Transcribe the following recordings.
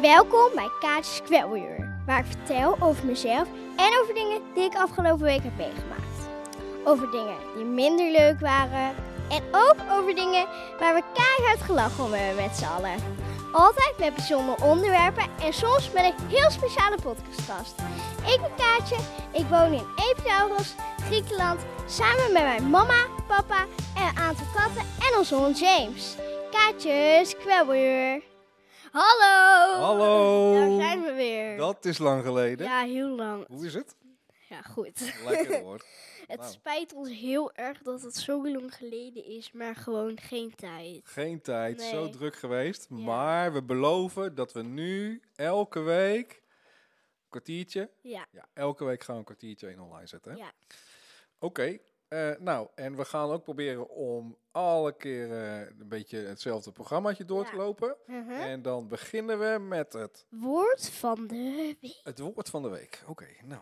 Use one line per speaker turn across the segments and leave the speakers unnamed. Welkom bij Kaatjes Kwelweer, waar ik vertel over mezelf en over dingen die ik afgelopen week heb meegemaakt. Over dingen die minder leuk waren en ook over dingen waar we keihard gelachen om hebben met z'n allen. Altijd met bijzondere onderwerpen en soms met een heel speciale podcastgast. Ik ben Kaatje, ik woon in Epidaurus, Griekenland, samen met mijn mama, papa en een aantal katten en onze hond James. Kaatjes Kwelweer. Hallo!
Hallo!
Daar zijn we weer.
Dat is lang geleden.
Ja, heel lang.
Hoe is het?
Ja, goed.
Lekker hoor.
Het
Nou.
spijt ons heel erg dat het zo lang geleden is, maar gewoon geen tijd.
Geen tijd, zo
Nee.
druk geweest. Maar we beloven dat we nu elke week een kwartiertje.
Ja,
Ja, elke week gaan we een kwartiertje in online zetten. hè?
Ja.
Oké. eh, nou, en we gaan ook proberen om alle keer eh, een beetje hetzelfde programmaatje door te
Ja.
lopen. En dan beginnen we met het,
Woord van de week.
het woord van de week. Oké, nou.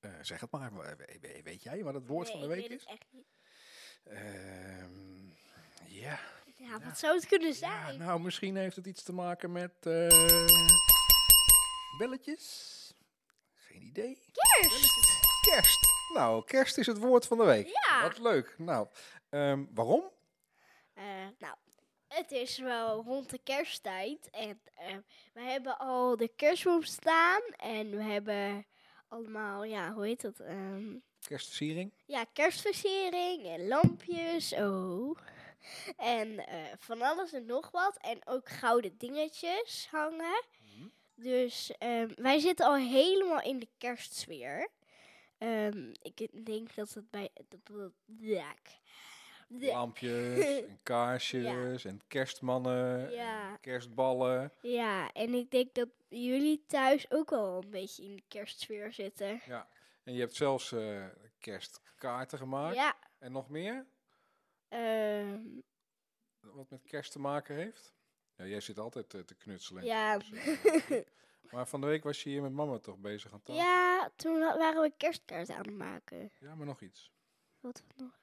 Eh, zeg het maar. We- we- we- Weet jij wat het woord van de
Nee, ik
week
weet
is?
het echt niet.
Ehm, Ja.
Ja, wat zou het kunnen
Ja,
zijn?
nou, misschien heeft het iets te maken met eh, belletjes. Geen idee.
Kerst!
Kerst. Nou, kerst is het woord van de week.
Ja.
Wat leuk. Nou, ehm, waarom?
Eh, nou, het is wel rond de kersttijd en eh, we hebben al de kerstboom staan en we hebben allemaal, ja, hoe heet dat? Ehm,
Kerstversiering.
Ja, kerstversiering en lampjes, oh. En eh, van alles en nog wat. En ook gouden dingetjes hangen.
Mhm.
Dus ehm, wij zitten al helemaal in de kerstsfeer. Ehm, ik denk dat het bij... dat- dat- Ja. De-
Lampjes en kaarsjes en kerstmannen
Ja.
en kerstballen.
Ja, en ik denk dat jullie thuis ook wel een beetje in de kerstsfeer zitten.
En je hebt zelfs eh, kerstkaarten gemaakt.
Ja,
En nog meer?
ehm,
Wat met kerst te maken heeft? Ja, jij zit altijd eh, te knutselen. en te
ja.
knutselen. maar van de week was je hier met mama toch bezig aan tafel?
ja, toen wa- waren we kerstkaarten aan het maken.
Ja, maar nog iets.
Wat nog?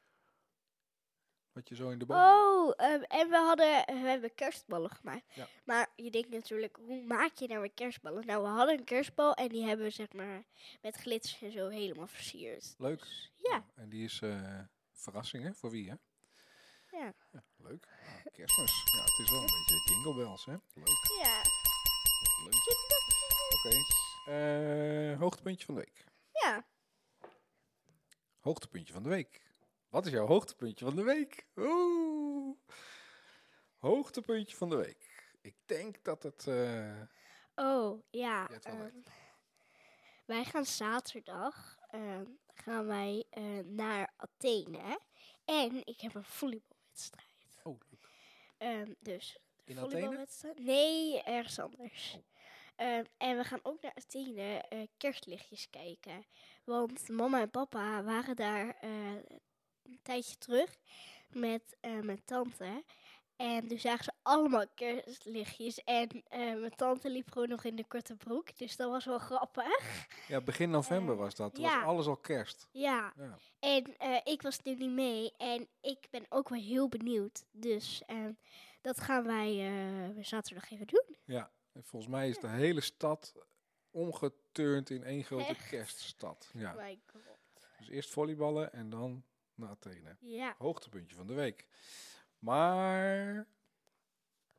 Wat je zo in de boom.
Oh, ehm, en we hadden we hebben kerstballen gemaakt.
Ja.
Maar je denkt natuurlijk, hoe maak je nou weer kerstballen? Nou, we hadden een kerstbal en die hebben we zeg maar met glitters en zo helemaal versierd.
Leuk.
Dus ja,
En die is eh verrassing, hè? Voor wie, hè?
Ja.
leuk. Nou, kerstmis. Ja, het is wel een beetje jingle bells, hè? Leuk.
ja.
leuk. Oké. Eh, hoogtepuntje van de week.
Ja,
Hoogtepuntje van de week. Wat is jouw hoogtepuntje van de week? Oeh. Hoogtepuntje van de week. Ik denk dat het... eh,
oh, ja.
Je hebt wel
ehm,
weten.
wij gaan zaterdag ehm, gaan wij eh, naar Athene. En ik heb een volleybalwedstrijd.
oh, leuk.
Ehm, dus
In Athene?
volleybalwedstrijd? Nee, ergens anders.
Oh.
Ehm, en we gaan ook naar Athene eh, kerstlichtjes kijken. Want mama en papa waren daar eh, een tijdje terug met eh, mijn tante. En toen zagen ze allemaal kerstlichtjes. En eh, mijn tante liep gewoon nog in de korte broek. Dus dat was wel grappig.
Ja, begin november
Eh,
was dat. Toen
ja.
was alles al kerst.
Ja.
Ja.
En eh, ik was nu niet mee. En ik ben ook wel heel benieuwd. Dus ehm, dat gaan wij eh, zaterdag even doen.
Ja, en volgens mij is de hele stad omgeturnd in één grote
Echt?
kerststad. Ja.
My god.
Dus eerst volleyballen en dan naar Athene.
Ja.
Hoogtepuntje van de week. Maar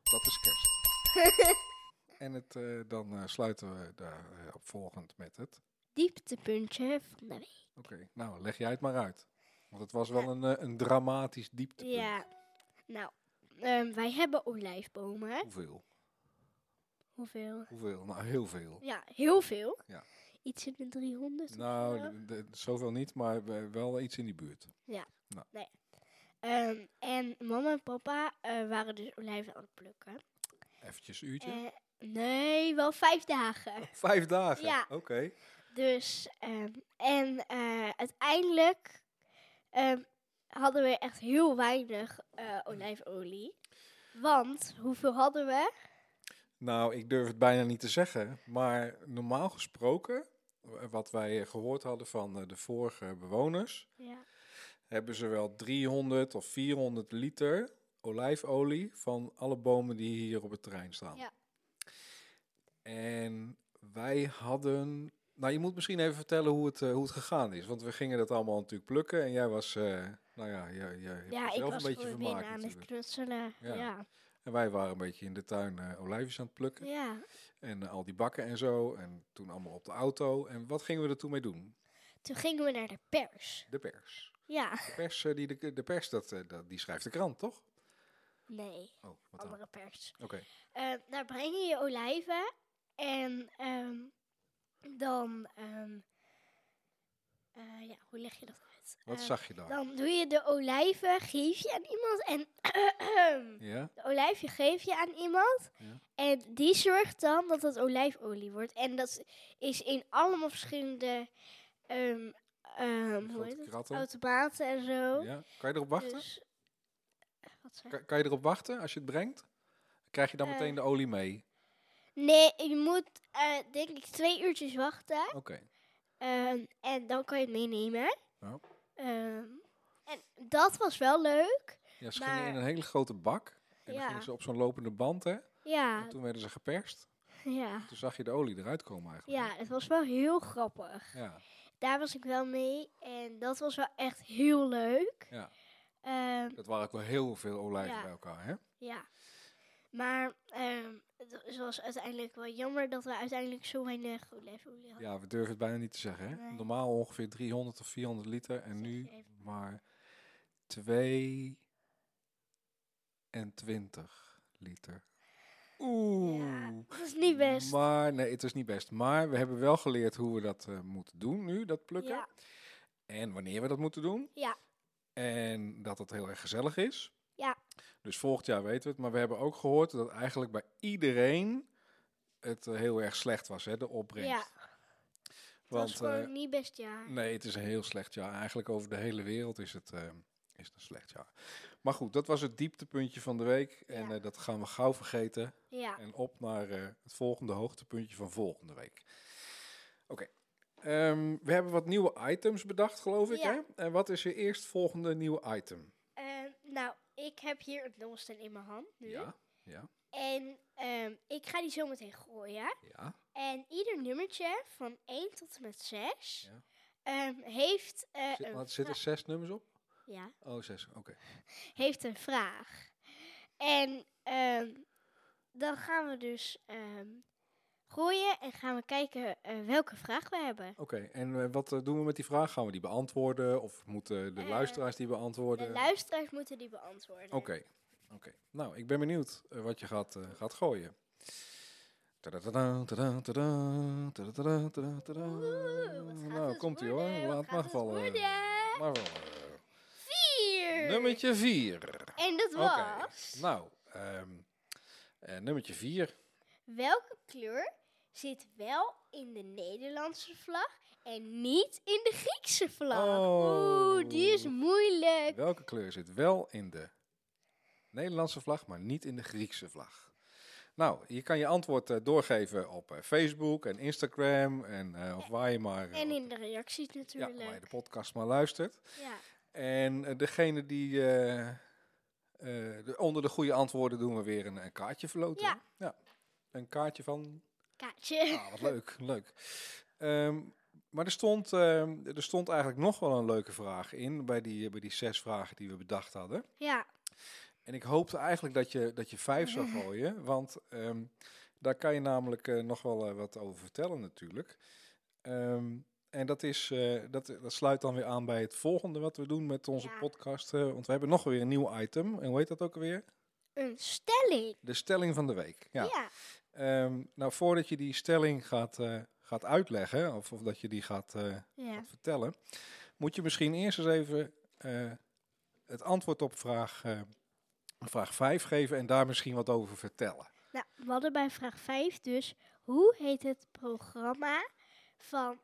dat is kerst. en het, eh, dan eh, sluiten we daar eh, op volgend met het.
dieptepuntje van de week.
Oké, nou leg jij het maar uit. Want het was wel een, eh, een dramatisch dieptepunt.
Ja. Nou, ehm, wij hebben olijfbomen.
Hoeveel?
Hoeveel?
Hoeveel? Nou, heel veel.
Ja, heel veel.
Ja.
Iets in de 300. of
Nou,
zo.
d- d- zoveel niet, maar we- wel iets in die buurt.
Ehm, en mama en papa eh, waren dus olijven aan het plukken.
Eventjes een uurtje.
Eh, nee, wel vijf dagen.
Vijf dagen?
Ja.
Oké.
Dus, ehm, en eh, uiteindelijk ehm, hadden we echt heel weinig eh, olijfolie. Want, hoeveel hadden we?
Nou, ik durf het bijna niet te zeggen. Maar normaal gesproken, w- wat wij eh, gehoord hadden van eh, de vorige bewoners,
Ja.
hebben ze wel 300 of 400 liter olijfolie van alle bomen die hier op het terrein staan.
Ja.
En wij hadden. Nou, je moet misschien even vertellen hoe het, eh, hoe het gegaan is. Want we gingen dat allemaal natuurlijk plukken. En jij was. eh, nou ja, jij, jij hebt
Ja, ik
zelf
was
een beetje
gewoon weer
vermaakt.
aan het
natuurlijk.
knutselen.
Ja.
Ja. Ja.
En wij waren een beetje in de tuin eh, olijfjes aan het plukken. En eh, al die bakken en zo. En toen allemaal op de auto. En wat gingen we er toen mee doen?
Toen gingen we naar de pers.
De pers.
Ja.
De pers, eh, die, de, de pers dat, eh, dat, die schrijft de krant, toch?
Nee,
Oh, wat dan? Oké.
andere pers. Eh, daar breng je je olijven en ehm, dan, ehm, eh, ja, hoe leg je dat uit?
Wat
Eh,
zag je daar?
Dan doe je de olijven, geef je aan iemand en
Ja?
de olijfje geef je aan iemand
Ja.
en die zorgt dan dat het olijfolie wordt. En dat is in allemaal verschillende ehm, ehm, hoe
grote
heet het?
kratten.
automaten en zo.
ja? Kan je erop wachten?
Dus, eh, wat zei
Kan, kan je erop wachten als je het brengt? Krijg je dan
Eh.
meteen de olie mee?
Nee, je moet eh, denk ik twee uurtjes wachten.
Oké.
Ehm, en dan kan je het meenemen.
Ja.
Ehm, en dat was wel leuk.
Ja, ze
Maar-
gingen in een hele grote bak. En dan
Ja.
gingen ze op zo'n lopende band, hè?
Ja,
En toen werden ze geperst.
ja.
Toen zag je de olie eruit komen eigenlijk.
Ja, het was wel heel grappig.
Ja,
Daar was ik wel mee. En dat was wel echt heel leuk.
Ja.
Ehm,
dat waren ook wel heel veel olijven
Ja.
bij elkaar, hè?
ja. Maar ehm, het was uiteindelijk wel jammer dat we uiteindelijk zo weinig olijfolie hadden.
Ja, we durven het bijna niet te zeggen, hè?
Oh. Nee.
Normaal ongeveer 300 of 400 liter. En
Zeg
nu
je even.
maar 22 liter. Oeh.
Dat is niet best.
Maar nee, het is niet best. Maar we hebben wel geleerd hoe we dat eh, moeten doen nu, dat plukken.
Ja.
En wanneer we dat moeten doen.
Ja.
En dat het heel erg gezellig is.
Ja.
Dus volgend jaar weten we het. Maar we hebben ook gehoord dat eigenlijk bij iedereen het eh, heel erg slecht was, hè, de opbrengst.
Ja, het
Want
was gewoon
eh,
niet best jaar.
nee, het is een heel slecht jaar. Eigenlijk over de hele wereld is het, eh, is het een slecht jaar. Maar goed, dat was het dieptepuntje van de week. En
Ja.
eh, dat gaan we gauw vergeten.
Ja.
En op naar eh, het volgende hoogtepuntje van volgende week. Oké. Ehm, we hebben wat nieuwe items bedacht, geloof ik.
Ja.
Hè? En wat is je eerstvolgende nieuwe item?
Ehm, nou, ik heb hier een dobbelsteen in mijn hand nu.
Ja.
En ehm, ik ga die zo meteen gooien.
Ja.
En ieder nummertje van 1 tot en met 6
Ja.
heeft, eh,
Zit,
een
wat, zitten zes nummers op?
vra- ja,
Oh, zes. Oké.
heeft een vraag. En ehm, dan gaan we dus ehm, gooien en gaan we kijken eh, welke vraag we hebben.
Oké. En eh, wat eh, doen we met die vraag? Gaan we die beantwoorden? Of moeten de
Eh,
luisteraars die beantwoorden?
De luisteraars moeten die beantwoorden.
Oké. Oké. Nou, ik ben benieuwd eh, wat je gaat, eh, gaat gooien. Tadadada, tadada, tadada, tadada, tadada.
Oeh, wat gaat
nou,
het
komt ie hoor.
worden? Wat
Laat
gaat
maar
het
vallen.
worden?
Maar wel. eh,
Vier!
Nummertje 4.
En dat
Oké.
was...
Nou, ehm, eh, nummertje 4.
Welke kleur zit wel in de Nederlandse vlag en niet in de Griekse vlag? Oeh, die is
Oh.
moeilijk.
Welke kleur zit wel in de Nederlandse vlag, maar niet in de Griekse vlag? Nou, je kan je antwoord eh, doorgeven op eh, Facebook en Instagram en eh, of waar je maar, eh,
En
op-
in de reacties
ja, waar je
natuurlijk.
de podcast maar luistert.
Ja,
En eh, degene die eh, eh, de- onder de goede antwoorden doen we weer een, een kaartje verloten.
Ja.
hè? ja. Een kaartje van
kaartje.
Ah, wat leuk, leuk. Ehm, maar er stond, ehm, er stond eigenlijk nog wel een leuke vraag in bij die, bij die zes vragen die we bedacht hadden.
Ja,
En ik hoopte eigenlijk dat je, dat je vijf zou gooien, want ehm, daar kan je namelijk eh, nog wel eh, wat over vertellen natuurlijk. Ehm, en dat, is, eh, dat, dat sluit dan weer aan bij het volgende wat we doen met onze
Ja.
podcast. eh, want we hebben nog weer een nieuw item. En hoe heet dat ook alweer?
een stelling.
De stelling van de week.
Ja.
Ehm, nou, voordat je die stelling gaat, eh, gaat uitleggen, of, of dat je die gaat, eh,
Ja.
gaat vertellen, moet je misschien eerst eens even eh, het antwoord op vraag, eh, vraag 5 geven en daar misschien wat over vertellen.
Nou, we hadden bij vraag 5 dus, hoe heet het programma van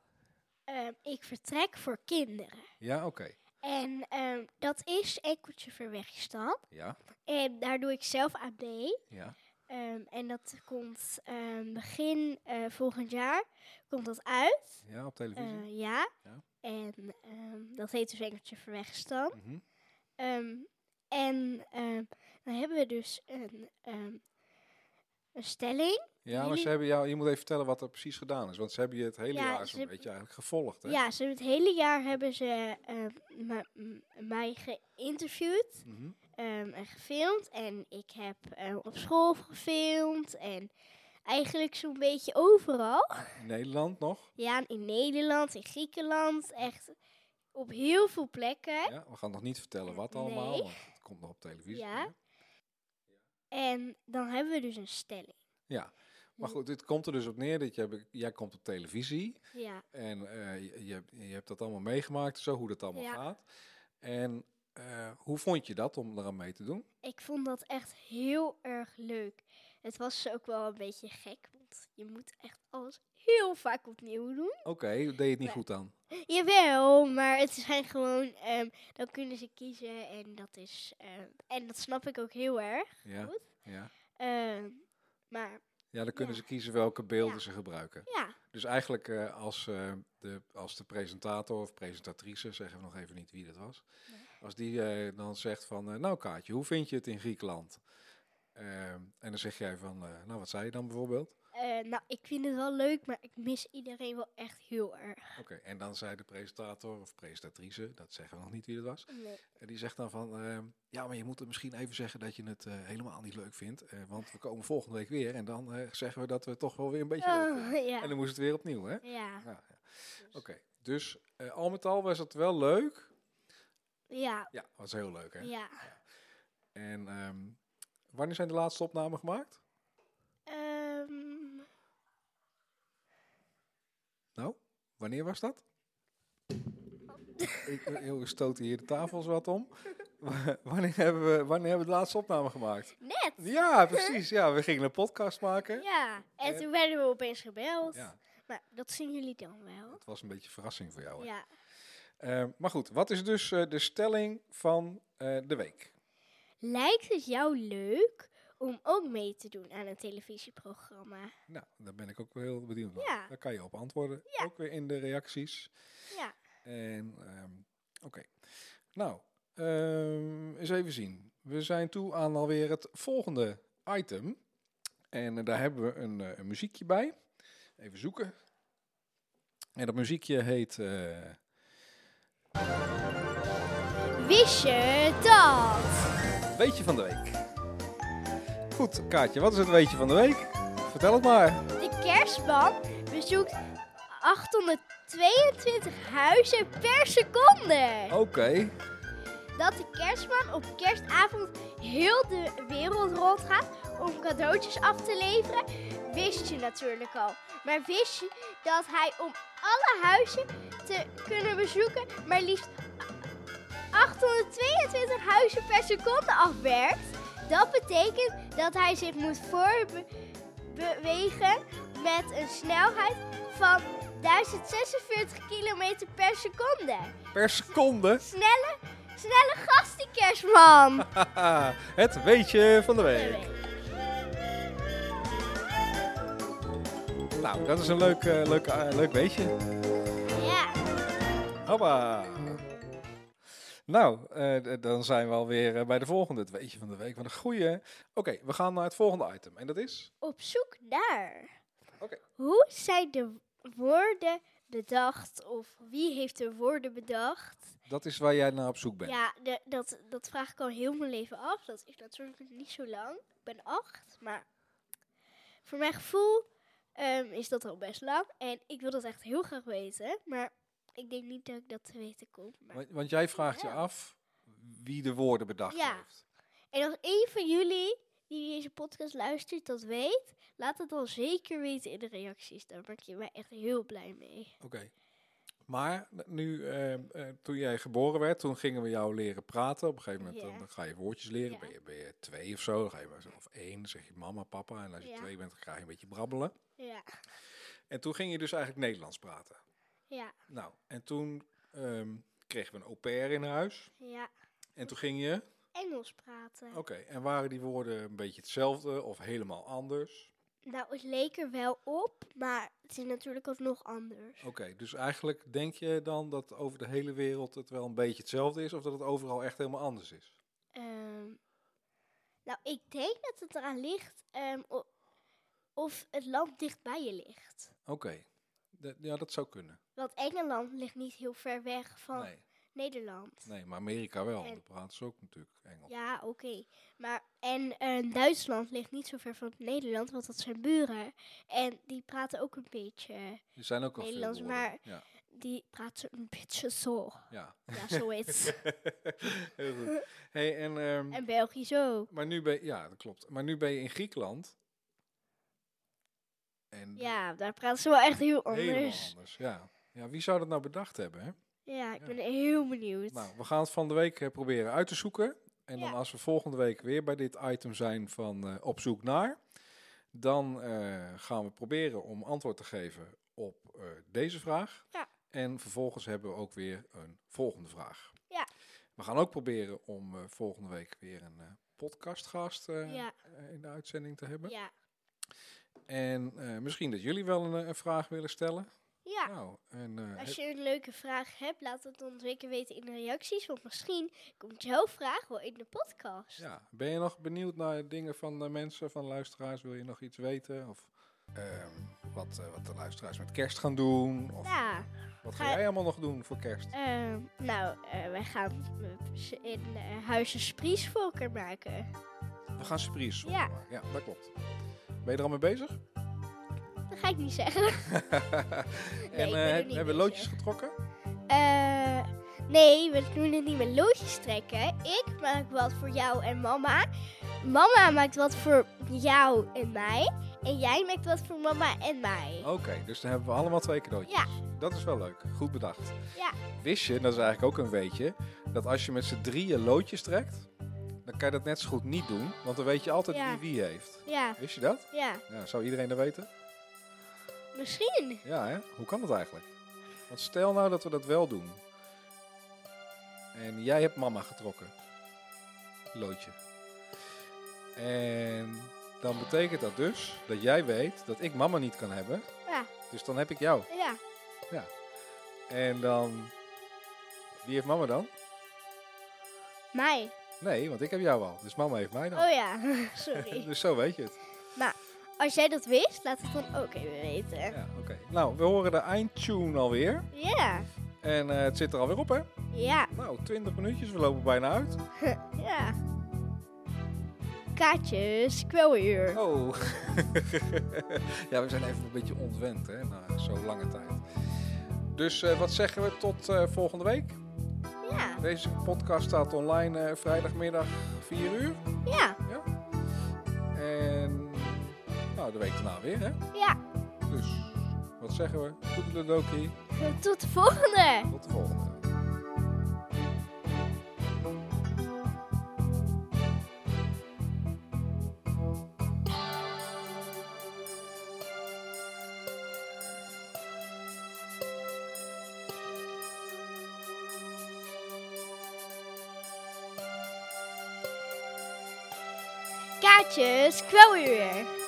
ehm, Ik Vertrek voor Kinderen?
Ja, oké.
En ehm, dat is Enkeltje Verwegstan.
Ja,
En daar doe ik zelf aan mee.
ja.
Ehm, en dat komt ehm, begin eh, volgend jaar komt dat uit.
ja, op televisie.
Eh, ja.
Ja.
En ehm, dat heet dus Enkeltje Verwegstan.
Mhm.
Ehm, en ehm, dan hebben we dus een ehm, Een stelling?
Ja, maar
Jullie-
ze hebben jou, je moet even vertellen wat er precies gedaan is. Want ze hebben je het hele
Ja,
jaar
ze
zo'n
hebben-
beetje eigenlijk gevolgd. Hè?
Ja, ze, het hele jaar hebben ze eh, me- m- mij geïnterviewd
Mhm.
ehm, en gefilmd. En ik heb eh, op school gefilmd en eigenlijk zo'n beetje overal.
In Nederland nog.
Ja, in Nederland, in Griekenland, echt op heel veel plekken.
Ja, we gaan nog niet vertellen wat allemaal,
Nee.
want het komt nog op televisie.
Ja.
hè?
En dan hebben we dus een stelling.
Maar goed, dit komt er dus op neer dat jij, be- jij komt op televisie
Ja,
en eh, je- je, hebt- je hebt dat allemaal meegemaakt, zo hoe dat allemaal
Ja.
gaat. En eh, hoe vond je dat om eraan mee te doen?
ik vond dat echt heel erg leuk. Het was ook wel een beetje gek, want je moet echt alles heel vaak opnieuw doen.
Oké, deed je het niet
Nee.
goed dan?
Jawel, maar het zijn gewoon, ehm, dan kunnen ze kiezen en dat is, ehm, en dat snap ik ook heel erg.
Ja,
Goed.
ja.
Ehm, maar
ja dan kunnen
Ja.
ze kiezen welke beelden
Ja.
ze gebruiken.
ja,
Dus eigenlijk eh, als, eh, de, als de presentator of presentatrice, zeggen we nog even niet wie dat was,
Nee.
als die eh, dan zegt van, eh, nou Kaatje, hoe vind je het in Griekenland? Ehm, en dan zeg jij van, eh, nou wat zei je dan bijvoorbeeld?
eh, nou, ik vind het wel leuk, maar ik mis iedereen wel echt heel erg.
Oké, en dan zei de presentator of presentatrice, dat zeggen we nog niet wie dat was, en die zegt dan van, ehm, ja maar je moet er misschien even zeggen dat je het eh, helemaal niet leuk vindt, eh, want we komen volgende week weer en dan eh, zeggen we dat we het toch wel weer een beetje leuk vinden.
Oh,
En
ja.
dan moest het weer opnieuw, hè?
Ja,
Ja, ja. Oké, dus eh, al met al was het wel leuk.
ja,
Ja, was heel leuk, hè?
ja.
En ehm, wanneer zijn de laatste opnamen gemaakt?
Ehm,
Nou, wanneer was dat? Ik eh, joh, we stoten hier de tafels wat om. Wa- wanneer, hebben we, wanneer hebben we de laatste opname gemaakt?
net,
Ja, precies. Ja, we gingen een podcast maken.
ja. En
Eh,
toen werden we opeens gebeld.
Ja,
Maar dat zien jullie dan wel.
het was een beetje een verrassing voor jou. Hè?
Ja.
Eh, maar goed, wat is dus eh, de stelling van eh, de week?
Lijkt het jou leuk om ook mee te doen aan een televisieprogramma?
Nou, daar ben ik ook wel heel benieuwd naar.
Ja.
Daar kan je op antwoorden.
Ja.
Ook weer in de reacties.
Ja.
En ehm, oké. Nou, ehm, eens even zien. We zijn toe aan alweer het volgende item. En eh, daar hebben we een, eh, een muziekje bij. Even zoeken. En dat muziekje heet. eh,
Wist je dat?
Weetje van de week. Goed, Kaatje, wat is het weetje van de week? Vertel het maar.
De kerstman bezoekt 822 huizen per seconde.
Oké.
Dat de kerstman op kerstavond heel de wereld rondgaat om cadeautjes af te leveren, wist je natuurlijk al. Maar wist je dat hij om alle huizen te kunnen bezoeken, maar liefst 822 huizen per seconde afwerkt? Dat betekent dat hij zich moet voorbewegen met een snelheid van 1046 km per seconde.
Per seconde.
Snelle, snelle gast die kerstman.
Haha, het weetje van de week. Nou, dat is een leuk, eh, leuk, eh, leuk weetje.
Ja,
Hoppa. Nou, eh, d- dan zijn we alweer eh, bij de volgende. Het weetje van de week van de goeie. Oké, we gaan naar het volgende item. En dat is...
op zoek naar.
Oké.
Hoe zijn de woorden bedacht? Of wie heeft de woorden bedacht?
Dat is waar jij naar op zoek bent.
Ja, de- dat, dat vraag ik al heel mijn leven af. Dat is natuurlijk niet zo lang. Ik ben acht, maar voor mijn gevoel ehm, is dat al best lang. En ik wil dat echt heel graag weten. Maar ik denk niet dat ik dat te weten kom. Maar...
Want, want jij vraagt je
Ja.
af wie de woorden bedacht
Ja.
heeft.
En als een van jullie die deze podcast luistert dat weet, laat het dan zeker weten in de reacties. Daar ben ik mij echt heel blij mee.
Oké. Maar n- nu, eh, eh, toen jij geboren werd, toen gingen we jou leren praten. Op een gegeven moment
Ja.
dan, dan ga je woordjes leren.
Ja.
Ben, je, ben je twee of zo, dan ga je, maar zo- of één, dan zeg je mama, papa. En als je
Ja.
twee bent, dan ga je een beetje brabbelen.
Ja,
En toen ging je dus eigenlijk Nederlands praten.
ja,
Nou, en toen ehm, kregen we een au pair in huis.
ja.
En toen ging je...
Engels praten.
Oké, en waren die woorden een beetje hetzelfde of helemaal anders?
Nou, het leek er wel op, maar het is natuurlijk alsnog anders.
Oké, dus eigenlijk denk je dan dat over de hele wereld het wel een beetje hetzelfde is... of dat het overal echt helemaal anders is?
Ehm, nou, ik denk dat het eraan ligt ehm, o- of het land dicht bij je ligt.
Oké. Dat- Ja, dat zou kunnen.
Want Engeland ligt niet heel ver weg van
Nee,
Nederland.
nee, maar Amerika wel.
En-
Daar praten ze ook natuurlijk Engels.
Ja, oké. Maar en eh, Duitsland ligt niet zo ver van Nederland, want dat zijn buren. En die praten ook een beetje.
Er zijn ook al
Nederlands,
veel woorden.
maar-
Ja,
Die praten een beetje zo.
ja.
Ja, zoiets.
Heel goed. Hey, en, ehm,
en Belgisch ook.
maar nu ben je, ja, dat klopt. Maar nu ben je in Griekenland. En
Ja, daar praten ze wel echt heel anders.
helemaal anders. Ja. ja, wie zou dat nou bedacht hebben? Hè?
Ja, ik
Ja.
ben heel benieuwd.
Nou, we gaan het van de week eh, proberen uit te zoeken. En dan
Ja.
als we volgende week weer bij dit item zijn van eh, op zoek naar, dan eh, gaan we proberen om antwoord te geven op eh, deze vraag.
Ja.
En vervolgens hebben we ook weer een volgende vraag.
Ja.
We gaan ook proberen om eh, volgende week weer een eh, podcastgast eh,
ja,
eh, in de uitzending te hebben.
ja,
En eh, misschien dat jullie wel een, eh, een vraag willen stellen.
ja.
Nou, en, eh,
Als je een leuke vraag hebt, laat het ons zeker weten in de reacties. Want misschien komt jouw vraag wel in de podcast.
Ja, ben je nog benieuwd naar dingen van de mensen, van luisteraars? Wil je nog iets weten? Of ehm, wat, eh, wat de luisteraars met kerst gaan doen? Of
Ja,
wat ga
ga-
jij allemaal nog doen voor kerst?
ehm, nou, eh, wij gaan eh, in eh, huizen spriesvolker maken.
We gaan surprise
Ja.
maken. Ja, dat klopt. Ben je er al mee bezig?
Dat ga ik niet zeggen.
en
ben
eh,
er
heb-
niet
hebben we
bezig.
loodjes getrokken?
Eh, nee, we doen het niet met loodjes trekken. Ik maak wat voor jou en mama. Mama maakt wat voor jou en mij. En jij maakt wat voor mama en mij.
Oké, dus dan hebben we allemaal twee cadeautjes.
Ja.
Dat is wel leuk. Goed bedacht.
Ja.
Wist je, dat is eigenlijk ook een weetje, dat als je met z'n drieën loodjes trekt, dan kan je dat net zo goed niet doen, want dan weet je altijd
Ja.
wie wie heeft.
Ja,
Wist je dat?
ja.
Ja, zou iedereen dat weten?
Misschien.
Ja, hè? Hoe kan dat eigenlijk? Want stel nou dat we dat wel doen. En jij hebt mama getrokken. Loodje. En dan betekent dat dus dat jij weet dat ik mama niet kan hebben.
Ja.
Dus dan heb ik jou.
Ja.
En dan... Wie heeft mama dan?
Mij.
Nee, want ik heb jou al. Dus mama heeft mij dan.
Oh ja, sorry.
Dus zo weet je het.
Als jij dat wist, laat het dan ook even weten.
Ja, oké. Nou, we horen de eindtune alweer.
Ja.
En eh, het zit er alweer op, hè?
Ja.
Nou, 20 minuutjes. We lopen bijna uit.
Ja. Kaartjes, kwelweer.
Oh. ja, we zijn even een beetje ontwend, hè, na zo'n lange tijd. Dus eh, wat zeggen we tot eh, volgende week?
Ja.
Deze podcast staat online eh, vrijdagmiddag 4 uur.
Ja.
En nou, de week daarna weer, hè?
Ja.
Dus wat zeggen we? Toedeledokie,
Tot de volgende.
tot de volgende.
Kaartjes, kwelweer.